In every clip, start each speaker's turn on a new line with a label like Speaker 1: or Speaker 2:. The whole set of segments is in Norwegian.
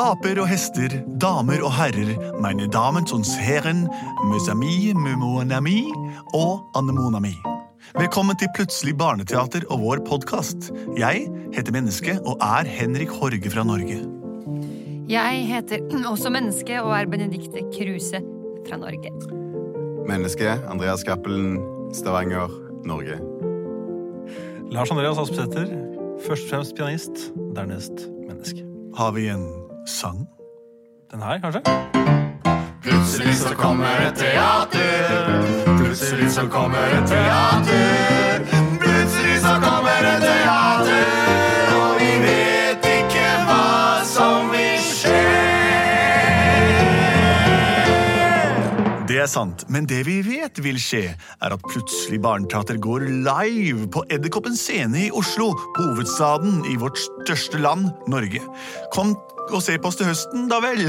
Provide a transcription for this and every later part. Speaker 1: Aper og hester, damer og herrer, meine damens og herren, mes amis, mes mon ami og anemonami. Velkommen til Plutselig barneteater og vår podkast. Jeg heter Menneske og er Henrik Horge fra Norge.
Speaker 2: Jeg heter også Menneske og er Benedicte Kruse fra Norge.
Speaker 3: Menneske, Andreas Cappelen, Stavanger, Norge.
Speaker 4: Lars Andreas Aspesæter, først og fremst pianist, dernest menneske.
Speaker 1: Har vi en sang?
Speaker 4: Den her, kanskje?
Speaker 3: Plutselig så kommer et teater. Plutselig så kommer et teater. Plutselig så kommer et teater. Og vi vet ikke hva som vil skje.
Speaker 1: Det er sant, men det vi vet vil skje, er at plutselig Barneteater går live på Edderkoppens scene i Oslo, hovedstaden i vårt største land, Norge. Kom og se på oss til høsten, da vel!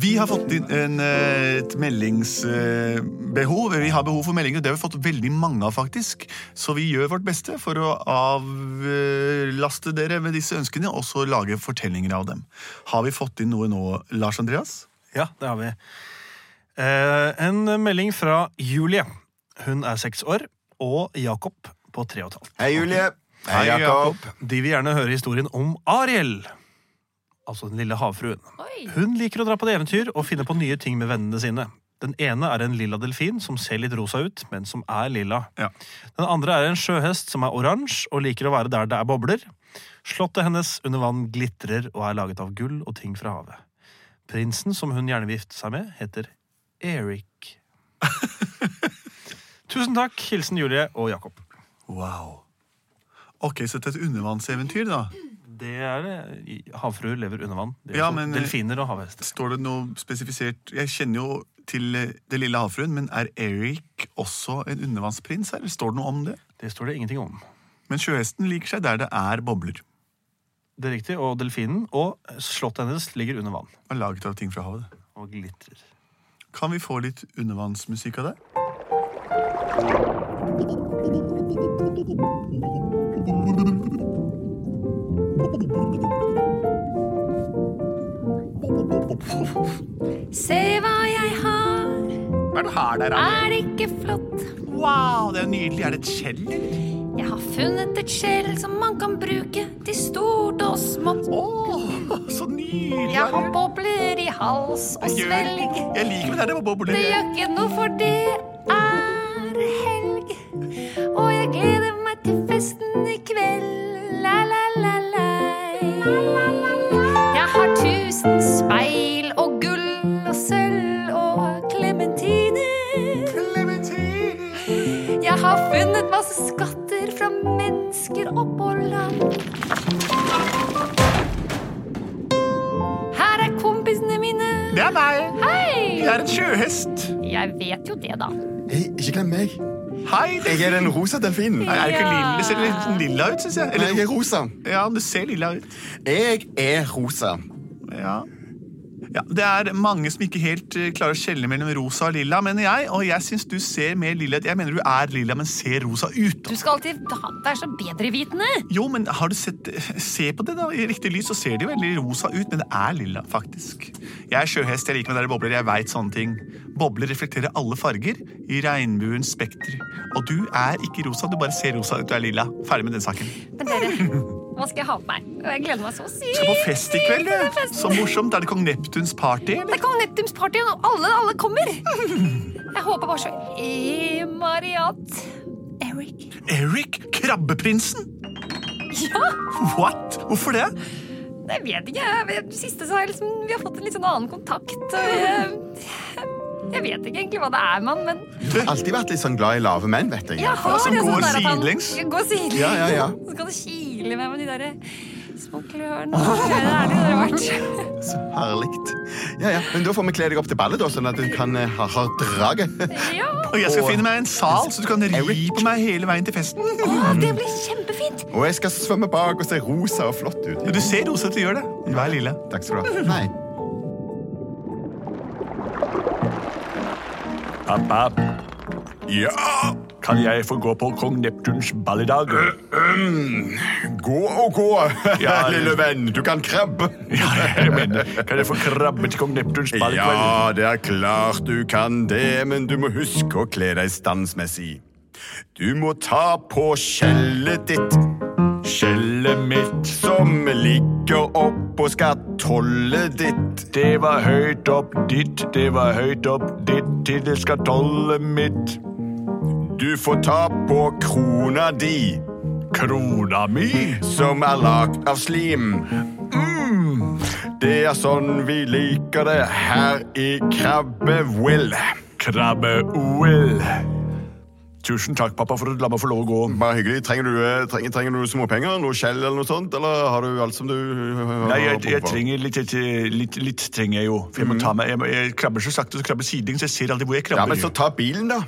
Speaker 1: Vi har fått inn en, eh, et meldingsbehov. Vi har behov for meldinger. Det har vi fått veldig mange av, faktisk. Så vi gjør vårt beste for å avlaste dere med disse ønskene og så lage fortellinger av dem. Har vi fått inn noe nå, Lars Andreas?
Speaker 4: Ja, det har vi. Eh, en melding fra Julie. Hun er seks år, og Jakob på tre og et halvt.
Speaker 3: Hei, Julie. Hei,
Speaker 1: Hei, Jakob.
Speaker 3: Jakob.
Speaker 4: De vil gjerne høre historien om Ariel. Altså den lille havfruen.
Speaker 2: Oi.
Speaker 4: Hun liker å dra på det eventyr og finne på nye ting med vennene sine. Den ene er en lilla delfin som ser litt rosa ut, men som er lilla.
Speaker 1: Ja.
Speaker 4: Den andre er en sjøhest som er oransje og liker å være der det er bobler. Slottet hennes under vann glitrer og er laget av gull og ting fra havet. Prinsen som hun gjerne vil gifte seg med, heter Eric. Tusen takk. Hilsen Julie og Jakob.
Speaker 1: Wow. Ok, så det er et undervannseventyr, da.
Speaker 4: Det er det. Havfruer lever under vann. Det er
Speaker 1: Ja,
Speaker 4: også
Speaker 1: men- eh,
Speaker 4: delfiner og havhester.
Speaker 1: Står det noe spesifisert Jeg kjenner jo til eh, Det lille havfruen, men er Eric også en undervannsprins her? Står det noe om det?
Speaker 4: Det står det ingenting om.
Speaker 1: Men sjøhesten liker seg der det er bobler.
Speaker 4: Det er riktig, Og delfinen og slottet hennes ligger under vann
Speaker 1: Og laget av ting fra havet.
Speaker 4: og glitrer.
Speaker 1: Kan vi få litt undervannsmusikk av det?
Speaker 2: Se hva jeg har,
Speaker 1: Hva er det her der, Anne?
Speaker 2: er det ikke flott?
Speaker 1: Wow, det er nydelig. Er det et skjell? eller?
Speaker 2: Jeg har funnet et skjell som man kan bruke til stort og smått.
Speaker 1: Åh, så nydelig.
Speaker 2: Jeg har bobler i hals og
Speaker 1: Jeg gjør-
Speaker 2: svelg.
Speaker 1: Jeg liker det der, det var bobler.
Speaker 2: Det gjør ikke noe, for det er helg. Og jeg gleder meg til festen i kveld. La, la, la, la. Jeg har tusen speil og gull og sølv og klementiner. Jeg har funnet masse skatter fra mennesker oppå land. Her er kompisene mine.
Speaker 1: Det er meg.
Speaker 2: Hei!
Speaker 1: Jeg er en sjøhest.
Speaker 2: Jeg vet jo det, da.
Speaker 3: Hei, ikke glem meg.
Speaker 1: Hei, det
Speaker 3: Jeg er den rosa delfinen.
Speaker 1: Nei, er det ikke
Speaker 2: Ja.
Speaker 1: lilla? Ser det litt sånn lilla ut, syns jeg?
Speaker 3: Eller jeg er rosa.
Speaker 1: ja, det ser lilla ut.
Speaker 3: Jeg er rosa.
Speaker 1: Ja. Ja, det er mange som ikke helt eh, klarer å skjelne mellom rosa og lilla, mener jeg. Og jeg syns du ser mer lilla ut. Jeg mener du er lilla, men ser rosa ut.
Speaker 2: Du skal alltid ha deg så bedrevitende.
Speaker 1: Jo, men har du sett Se på det, da. I riktig lys så ser det jo veldig rosa ut, men det er lilla, faktisk. Jeg er sjøhest, jeg liker meg der det bobler, jeg veit sånne ting. Bobler reflekterer alle farger i regnbuens spekter. Og du er ikke rosa, du bare ser rosa ut, du er lilla. Ferdig med den saken.
Speaker 2: Men dere, hva skal jeg ha på meg? Og jeg gleder meg så sykt.
Speaker 1: Du skal på fest i kveld,
Speaker 2: til den
Speaker 1: du.
Speaker 2: festen.
Speaker 1: Så morsomt. Er det Kong Neptuns party, eller?
Speaker 2: Det er Kong Neptuns party, og alle, alle kommer. Jeg håper bare så innmari at Eric
Speaker 1: Eric Krabbeprinsen?
Speaker 2: Ja,
Speaker 1: What? Hvorfor det?
Speaker 2: jeg vet ikke. Jeg vet- Det siste så har jeg liksom, vi har fått en litt sånn annen kontakt. og Jeg, jeg vet ikke egentlig hva det er med han, men
Speaker 3: Jeg har alltid vært litt sånn glad i lave menn, vet jeg.
Speaker 2: Jeg har
Speaker 1: som
Speaker 2: det
Speaker 1: går
Speaker 2: sånn der at han-
Speaker 1: sidelengs.
Speaker 2: Ja, Går sidelengs.
Speaker 3: Ja, ja, ja.
Speaker 2: Så skal det kile meg med de derre små klørne. Det er det det har vært.
Speaker 3: Så herlig. Ja, ja. Men da får vi kle deg opp til ballet, da, sånn at du kan eh, ha, ha draget.
Speaker 2: Ja.
Speaker 1: Og jeg skal
Speaker 3: Og-
Speaker 1: finne meg en sal, så du kan ri
Speaker 3: Eric.
Speaker 1: på meg hele veien til festen.
Speaker 2: Å, det blir kjempefint!
Speaker 3: Og jeg skal svømme bak og se rosa og flott ut.
Speaker 1: Ja, Du ser rosa ut, du gjør det. Du er lilla.
Speaker 3: Takk skal du ha. Nei.
Speaker 1: Papp, papp.
Speaker 3: Ja!
Speaker 1: Kan jeg få gå på kong Neptuns ball i dag?
Speaker 3: Gå og gå,
Speaker 1: Ja.
Speaker 3: lille venn. Du kan krabbe.
Speaker 1: Ja, jeg mener, kan jeg få krabbe til kong Neptuns ball i kveld?
Speaker 3: Ja, det er klart du kan det, men du må huske å kle deg standsmessig. Du må ta på skjellet ditt,
Speaker 1: Skjellet mitt,
Speaker 3: som ligger oppå skatollet ditt.
Speaker 1: det var høyt opp ditt, det var høyt opp ditt, til det skal tolle mitt.
Speaker 3: Du får ta på krona di,
Speaker 1: Krona mi,
Speaker 3: som er lagd av slim. Mm. Det er sånn vi liker det her i Krabbe-Will.
Speaker 1: krabbe-OL. Tusen takk, pappa, for at du la meg få lov å gå.
Speaker 3: Bare hyggelig. Trenger du, eh, trenger, trenger du småpenger? Noe skjell eller noe sånt? Eller har du alt som du eh,
Speaker 1: Nei, jeg,
Speaker 3: har
Speaker 1: jeg
Speaker 3: behov for?
Speaker 1: trenger litt, litt, litt, litt trenger jeg jo. For jeg, må ta meg, jeg, må- jeg krabber så sakte, så krabber sidelengs. Jeg ser aldri hvor jeg
Speaker 3: Mhm. Ja,
Speaker 1: krabber.
Speaker 3: men så ta bilen, da.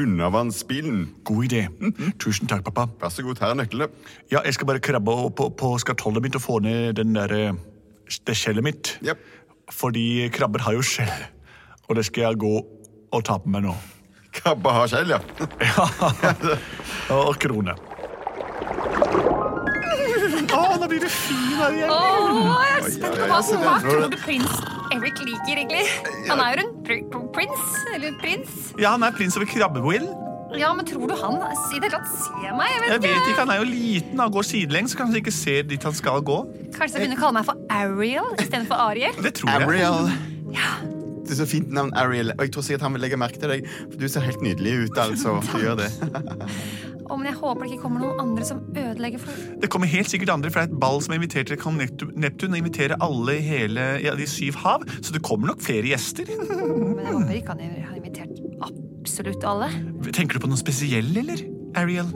Speaker 3: Undervannsbilen.
Speaker 1: God idé. Mhm. Tusen takk, pappa.
Speaker 3: Vær så god, her er nøklene.
Speaker 1: Ja, jeg skal bare krabbe opp på, på skatollet mitt og få ned den der, eh, det skjellet mitt.
Speaker 3: Jep.
Speaker 1: Fordi krabber har jo skjell. Og det skal jeg gå og ta på meg nå.
Speaker 3: Krabba har skjell, ja.
Speaker 1: Og krone. Å, nå blir det fin her igjen.
Speaker 2: Åh, jeg er spent på hva, hva
Speaker 3: Oi, oi, oi, se der.
Speaker 2: tror du prins Eric liker, egentlig? Han er jo en pr pr prins, eller prins.
Speaker 1: Ja, han er prins over krabbe-Will.
Speaker 2: Ja, men tror du han i det hele tatt ser meg? Jeg
Speaker 1: Jeg
Speaker 2: vet
Speaker 1: vet
Speaker 2: ikke.
Speaker 1: ikke, han er jo liten. Han går sidelengs, så kanskje han ikke ser dit han skal gå.
Speaker 2: Kanskje jeg begynner å kalle meg for Ariel istedenfor Ariel?
Speaker 1: Det tror jeg.
Speaker 3: Det er så fint navn, Ariel. Og jeg tror sikkert han vil legge merke til deg. For du ser helt nydelig ut, altså. Du gjør det.
Speaker 2: Å, men jeg håper det ikke kommer noen andre som ødelegger for
Speaker 1: Det kommer helt sikkert andre, for det er et ball som inviterer kong Neptu- Neptun og inviterer alle i hele ja, de syv hav, så det kommer nok flere gjester.
Speaker 2: Men jeg håper ikke han har invitert absolutt alle.
Speaker 1: Tenker du på noen spesiell, eller? Ariel?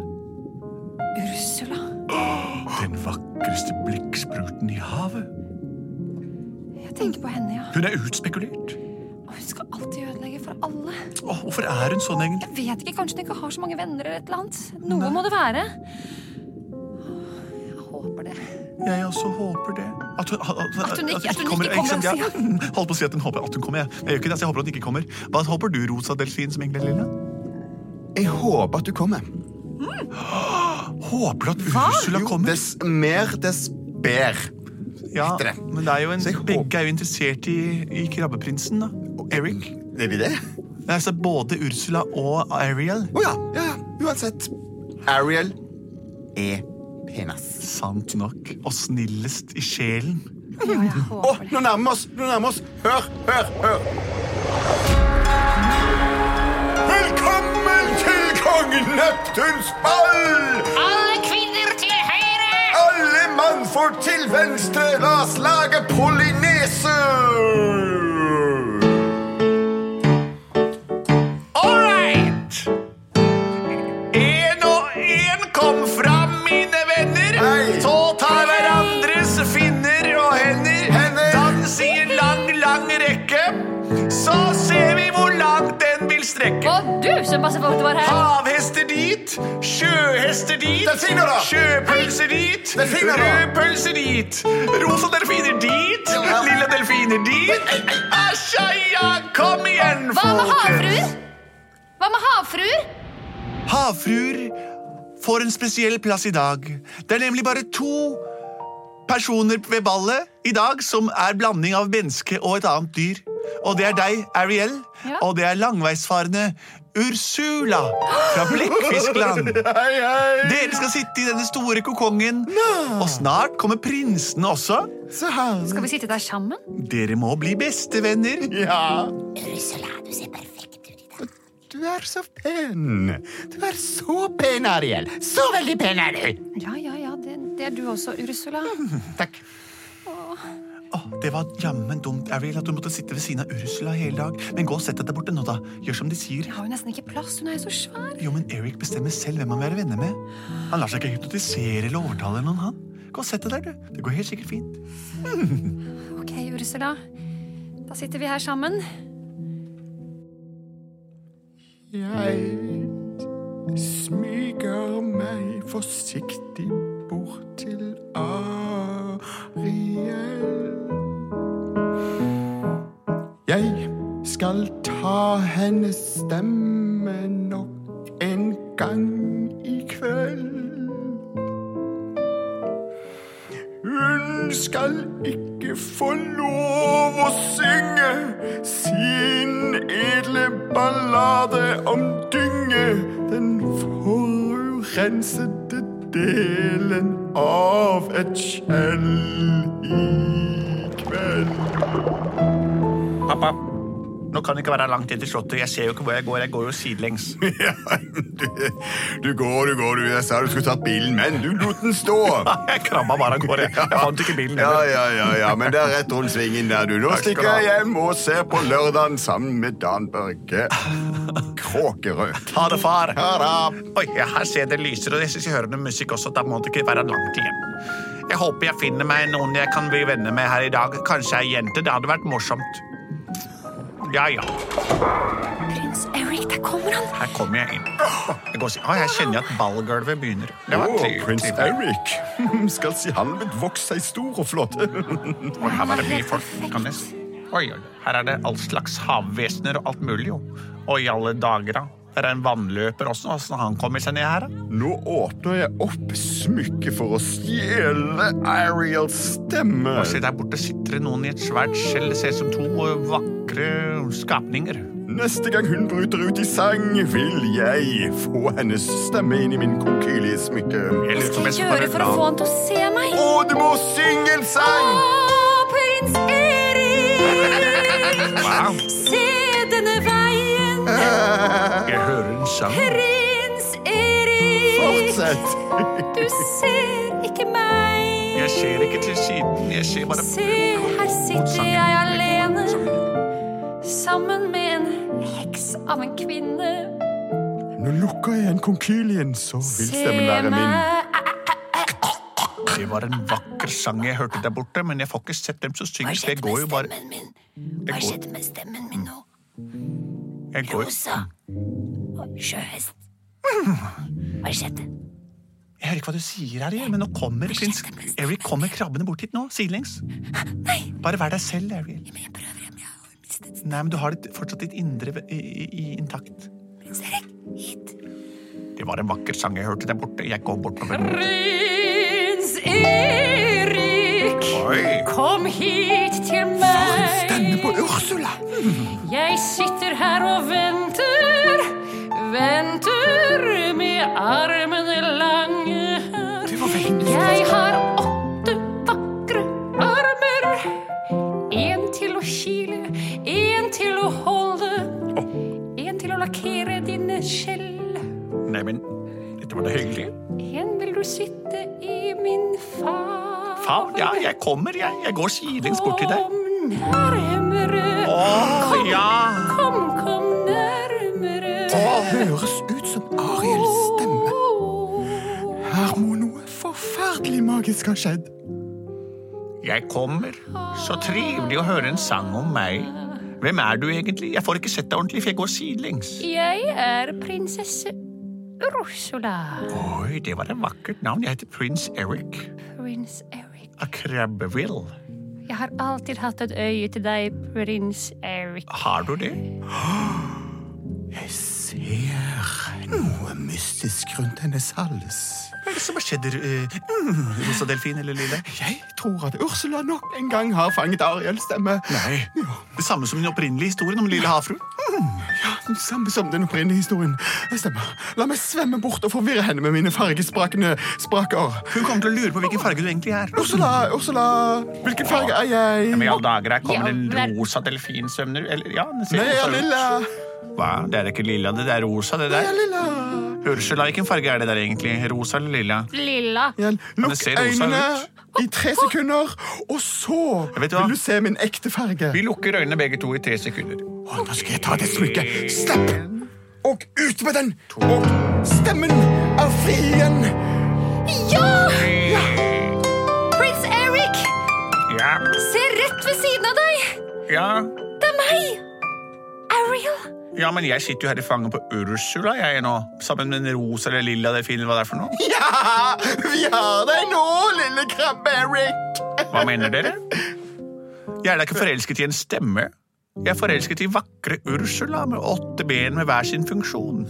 Speaker 2: Ursula.
Speaker 1: Den vakreste blikkspruten i havet.
Speaker 2: Jeg tenker på henne, ja.
Speaker 1: Hun er utspekulert.
Speaker 2: Og hun skal alltid ødelegge for alle.
Speaker 1: Åh, hvorfor er hun sånn, egentlig?
Speaker 2: Jeg vet ikke, Kanskje hun ikke har så mange venner eller et eller annet. Noe må det være. Åh, Jeg håper det.
Speaker 1: Jeg også håper det. At hun, at,
Speaker 2: At hun ikke- at hun ikke
Speaker 1: sant?
Speaker 2: kommer,
Speaker 1: Ja, Holdt på å si at hun håper at hun kommer. Jeg, jeg gjør ikke det, så jeg håper at hun ikke kommer. Hva håper du, Rosa Delfin, som egentlig er lilla?
Speaker 3: Jeg håper at du kommer.
Speaker 1: Håper du at
Speaker 2: Hva?
Speaker 1: Ursula kommer?
Speaker 3: Dess mer, dess bedre.
Speaker 1: Ja,
Speaker 3: heter det.
Speaker 1: men det er jo en,
Speaker 3: Så jeg håper-
Speaker 1: begge er jo interessert i, i krabbeprinsen, da. Og Eric.
Speaker 3: Er vi det?
Speaker 1: Nei, altså både Ursula og Ariel.
Speaker 3: Å ja. ja. ja. Uansett. Ariel er penis.
Speaker 1: Sant nok. Og snillest i sjelen.
Speaker 2: Ja, jeg
Speaker 3: Å,
Speaker 2: håper det.
Speaker 3: nå nærmer vi oss! Nå nærmer vi oss. Hør, hør, hør. Velkommen til kong Neptuns ball!
Speaker 2: Alle kvinner til høyre!
Speaker 3: Alle mannfolk til venstre, la oss lage polynese!
Speaker 1: All right! Én og én kom fram, mine venner.
Speaker 3: Hei.
Speaker 1: Så ta hverandres finner og hender.
Speaker 3: Hender.
Speaker 1: Dans i en lang, lang rekke. Så ser vi hvor langt den vil strekke.
Speaker 2: Og du som passer på at du var her.
Speaker 1: Havhester dit, sjøhester dit,
Speaker 3: Delfiner, da!
Speaker 1: sjøpølser dit,
Speaker 3: Delfiner, da!
Speaker 1: rødpølser dit, rosa delfiner dit,
Speaker 3: ja.
Speaker 1: lilla delfiner dit. Æsj, ja, kom igjen,
Speaker 2: Hva med
Speaker 1: folkens!
Speaker 2: havfruer? Hva med havfruer?
Speaker 1: Havfruer får en spesiell plass i dag. Det er nemlig bare to personer ved ballet i dag som er blanding av menneske og et annet dyr. Og det er deg, Ariel,
Speaker 2: Ja.
Speaker 1: og det er langveisfarende Ursula fra Blekkfiskland.
Speaker 3: Hei, hei!
Speaker 1: Dere skal sitte i denne store kokongen, og snart kommer prinsene også.
Speaker 3: Så herlig.
Speaker 2: Skal vi sitte der sammen?
Speaker 1: Dere må bli bestevenner.
Speaker 3: Ja,
Speaker 2: Ursula, du ser perfekt ut i dag.
Speaker 3: du er så pen. Du er så pen, Ariel. Så veldig pen er du.
Speaker 2: Ja, ja, ja. Det, det er du også, Ursula.
Speaker 3: Takk.
Speaker 1: Åh, det var jammen dumt, Ariel, at du måtte sitte ved siden av Ursula hele dag. Men gå og sett deg der borte nå, da. Gjør som de sier.
Speaker 2: Jeg har jo nesten ikke plass. Hun er jo så svær.
Speaker 1: Jo, men Eric bestemmer selv hvem han vil være venner med. Han lar seg ikke hypnotisere eller overtale noen, han. Gå og sett deg der, du. Det går helt sikkert fint.
Speaker 2: Ok, Ursula. Da sitter vi her sammen.
Speaker 3: Jeg smyger meg forsiktig bort til Ariel. Jeg skal ta hennes stemme nok skal ikke få lov å synge sin edle ballade om dynge. Den forurensede delen av et skjell i kveld.
Speaker 1: Pappa, nå kan det ikke være langt inn til Slottet. Jeg ser jo ikke hvor jeg går. Jeg går jo sidelengs.
Speaker 3: Ja, du, du går, du går, du. Jeg sa du skulle tatt bilen, men du lot den stå.
Speaker 1: Jeg krabba bare av gårde. Jeg fant ikke bilen.
Speaker 3: Ja,
Speaker 1: heller.
Speaker 3: ja, ja, ja, men det er rett rundt svingen der, du. Nå
Speaker 1: Takk skal
Speaker 3: stikker
Speaker 1: du ha.
Speaker 3: jeg hjem og ser på lørdagen sammen med Dan Børge Kråkerød.
Speaker 1: Ha det, far.
Speaker 3: Ha det!
Speaker 1: Oi, ja, her ser det lyser, og jeg synes jeg hører noe musikk også. Da må det ikke være langt igjen. Jeg håper jeg finner meg noen jeg kan bli venner med her i dag. Kanskje ei jente. Det hadde vært morsomt. Ja, ja.
Speaker 2: Prins Eric, der kommer han.
Speaker 1: Her kommer jeg inn. Jeg, går, å, jeg kjenner at ballgulvet begynner. Det var
Speaker 3: Åh,
Speaker 1: trivelig.
Speaker 3: prins Eric. Skal si han vil vokse seg stor og flott.
Speaker 1: Oi, her var det mye folk. Kan jeg... s- Oi, oi. Her er det all slags havvesener og alt mulig, jo. Og i alle dager, da. Her er en vannløper også. Åssen han kommer seg ned her, da.
Speaker 3: Nå åpner jeg opp smykket for å stjele Ariels stemme.
Speaker 1: Og se, der borte sitter det noen i et svært skjell. Det ser ut som to eh, vakre skapninger.
Speaker 3: Neste gang hun bryter ut i sang, vil jeg få hennes stemme inn i min konkylige smykke.
Speaker 1: Jeg lurer
Speaker 2: Hva skal
Speaker 1: på om
Speaker 2: jeg
Speaker 1: skal
Speaker 2: gjøre
Speaker 1: bare-
Speaker 2: for å få han til å se meg?
Speaker 3: Å, du må synge en sang!
Speaker 2: Å, prins Erik,
Speaker 1: Wow.
Speaker 2: se denne veien.
Speaker 1: Jeg hører en sang.
Speaker 2: Prins Erik,
Speaker 3: Fortsett!
Speaker 2: du ser ikke meg.
Speaker 1: Jeg ser ikke til siden. Jeg ser bare
Speaker 2: Se, her sitter jeg alene sammen med en heks av en kvinne.
Speaker 3: Nå lukker jeg en konkylien, så vil
Speaker 2: Se
Speaker 3: stemmen være min.
Speaker 2: meg
Speaker 1: Det var en vakker sang jeg hørte der borte, men jeg får ikke sett dem som synger.
Speaker 2: Hva har
Speaker 1: så Jeg
Speaker 2: skjedd
Speaker 1: går
Speaker 2: med
Speaker 1: jo bare
Speaker 2: stemmen min? Hva har
Speaker 1: går-
Speaker 2: skjedd med stemmen min nå?
Speaker 1: jeg går,
Speaker 2: Rosa og sjøhest. Hva skjedde?
Speaker 1: Jeg hører ikke hva du sier her, igjen, men nå kommer prins Eric kommer krabbende bort hit nå, sidelengs. Bare vær deg selv, Ariel.
Speaker 2: Men jeg prøver igjen. Jeg har mistet
Speaker 1: Nei, men du har ditt, fortsatt ditt indre ve- i, i, i intakt.
Speaker 2: prins Erik hit.
Speaker 1: Det var en vakker sang jeg hørte der borte. Jeg går bortover.
Speaker 2: Prins Erik,
Speaker 1: Oi!
Speaker 2: kom hit til meg.
Speaker 3: Denne på Ursula!
Speaker 2: Jeg sitter her og venter, venter med armene lange. Jeg har åtte vakre armer. En til å kile, en til å holde, en til å lakkere dine skjell.
Speaker 1: Nei, men dette var da hyggelig.
Speaker 2: En vil du sitte i min favn.
Speaker 1: Faen, ja, jeg kommer, jeg. Jeg går sidelengs bort til deg.
Speaker 2: Kom nærmere.
Speaker 1: Å, ja!
Speaker 2: Kom, kom nærmere.
Speaker 3: høres ut som Ariels stemme. Her må noe forferdelig magisk ha skjedd.
Speaker 1: Jeg kommer. Så trivelig å høre en sang om meg. Hvem er du egentlig? Jeg får ikke sett deg ordentlig, for jeg går sidelengs.
Speaker 2: Jeg er prinsesse Ursula.
Speaker 1: Oi, det var et vakkert navn. Jeg heter prins Eric
Speaker 2: Prins Eric.
Speaker 1: av Krabbeville.
Speaker 2: Jeg har alltid hatt et øye til deg, prins Eric.
Speaker 1: Har du det?
Speaker 3: Jeg ser noe mystisk rundt hennes hals.
Speaker 1: Hva er det som har skjedd, eh, rosa delfin eller lille?
Speaker 3: Jeg tror at Ursula nok en gang har fanget Ariels stemme. Nei. Ja,
Speaker 1: Det samme som den opprinnelige historien om lille havfruen.
Speaker 3: den samme som den opprinnelige historien. Det stemmer. La meg svømme bort og forvirre henne med mine fargesprakende spraker.
Speaker 1: Hun kommer til å lure på hvilken farge du egentlig er.
Speaker 3: Ursula, Ursula, hvilken farge er jeg?
Speaker 1: Men i alle dager, her
Speaker 2: Ja,
Speaker 1: kommer en
Speaker 2: men-
Speaker 1: rosa delfin svømmer Eller, ja, den ser
Speaker 3: Nei, jeg
Speaker 1: rosa
Speaker 3: er
Speaker 1: ut.
Speaker 3: lilla.
Speaker 1: Hva? Det er ikke lilla, det er rosa, det
Speaker 3: Jeg er
Speaker 1: der.
Speaker 3: lilla.
Speaker 1: Ursula, hvilken farge er det der egentlig? Rosa eller lilla?
Speaker 2: Lilla.
Speaker 3: Ja,
Speaker 1: det
Speaker 3: lukk
Speaker 1: ser rosa
Speaker 3: øynene
Speaker 1: ut.
Speaker 3: i tre sekunder, og så
Speaker 1: Vet du hva?
Speaker 3: vil du se min ekte farge.
Speaker 1: Vi lukker øynene begge to i tre sekunder.
Speaker 3: Å, nå skal jeg ta det smykket. Slipp! Og ut med den! Og stemmen er fri igjen.
Speaker 2: Ja! Prins Eric,
Speaker 1: Ja,
Speaker 2: se rett ved siden av deg!
Speaker 1: ja.
Speaker 2: Det er meg! Ariel.
Speaker 1: Ja, men jeg sitter jo her i fanget på Ursula, jeg nå. Sammen med en rosa eller lilla delfin, eller hva det er for noe.
Speaker 3: Ja, vi har deg nå, lille krabbe Eric.
Speaker 1: Hva mener dere? Jeg er da ikke forelsket i en stemme. Jeg er forelsket i vakre Ursula med åtte ben med hver sin funksjon.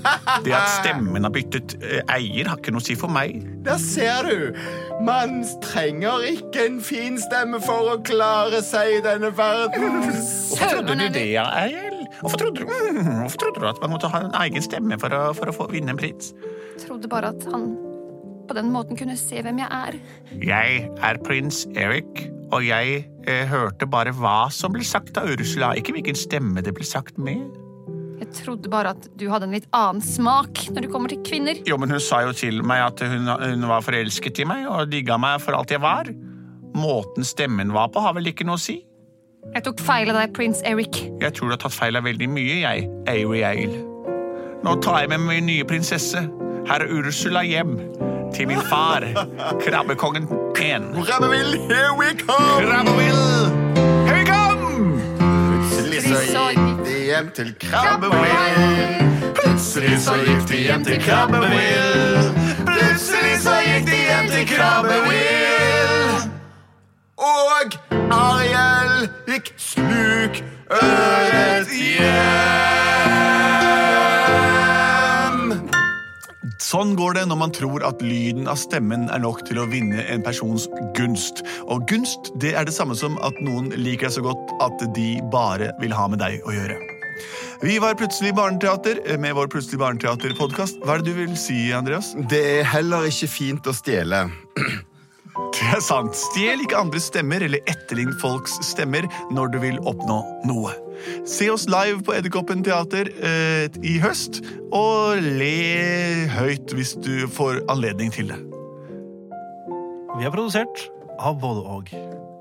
Speaker 1: Det at stemmen har byttet eh, eier, har ikke noe å si for meg.
Speaker 3: Der ser du! Man trenger ikke en fin stemme for å klare seg i denne verden.
Speaker 1: Hvorfor trodde du det, Ariel? Hvorfor trodde du, mm, hvorfor trodde du at man måtte ha en egen stemme for å, for å få vinne en pris?
Speaker 2: Trodde bare at han på den måten kunne se hvem jeg er.
Speaker 1: Jeg er prins Erik, og jeg eh, hørte bare hva som ble sagt av Ursula, ikke hvilken stemme det ble sagt med.
Speaker 2: Jeg trodde bare at du hadde en litt annen smak når det kommer til kvinner.
Speaker 1: Jo, men hun sa jo til meg at hun, hun var forelsket i meg og digga meg for alt jeg var. Måten stemmen var på, har vel ikke noe å si?
Speaker 2: Jeg tok feil av deg, prins Eric.
Speaker 1: Jeg tror du har tatt feil av veldig mye, jeg, Ariel. Nå tar jeg med min nye prinsesse, herr Ursula, hjem. Til min far, krabbekongen 1.
Speaker 3: Rabbevill, here we come!
Speaker 1: Krabbevill, here we come!
Speaker 3: Plutselig så gikk de hjem til Krabbevill. Plutselig så gikk de hjem til Krabbevill. Plutselig så gikk de hjem til Krabbevill. Og Ariel gikk sluk øret hjem.
Speaker 1: Sånn går det når man tror at lyden av stemmen er nok til å vinne en persons gunst. Og gunst det er det samme som at noen liker deg så godt at de bare vil ha med deg å gjøre. Vi var Plutselig barneteater eh, med vår Plutselig barneteater-podkast. Hva er det du vil si, Andreas?
Speaker 3: Det er heller ikke fint å stjele.
Speaker 1: Det er sant. Stjel ikke andres stemmer eller etterlign folks stemmer når du vil oppnå noe. Se oss live på Edderkoppen teater eh, i høst, og le høyt hvis du får anledning til det.
Speaker 4: Vi er produsert av både og.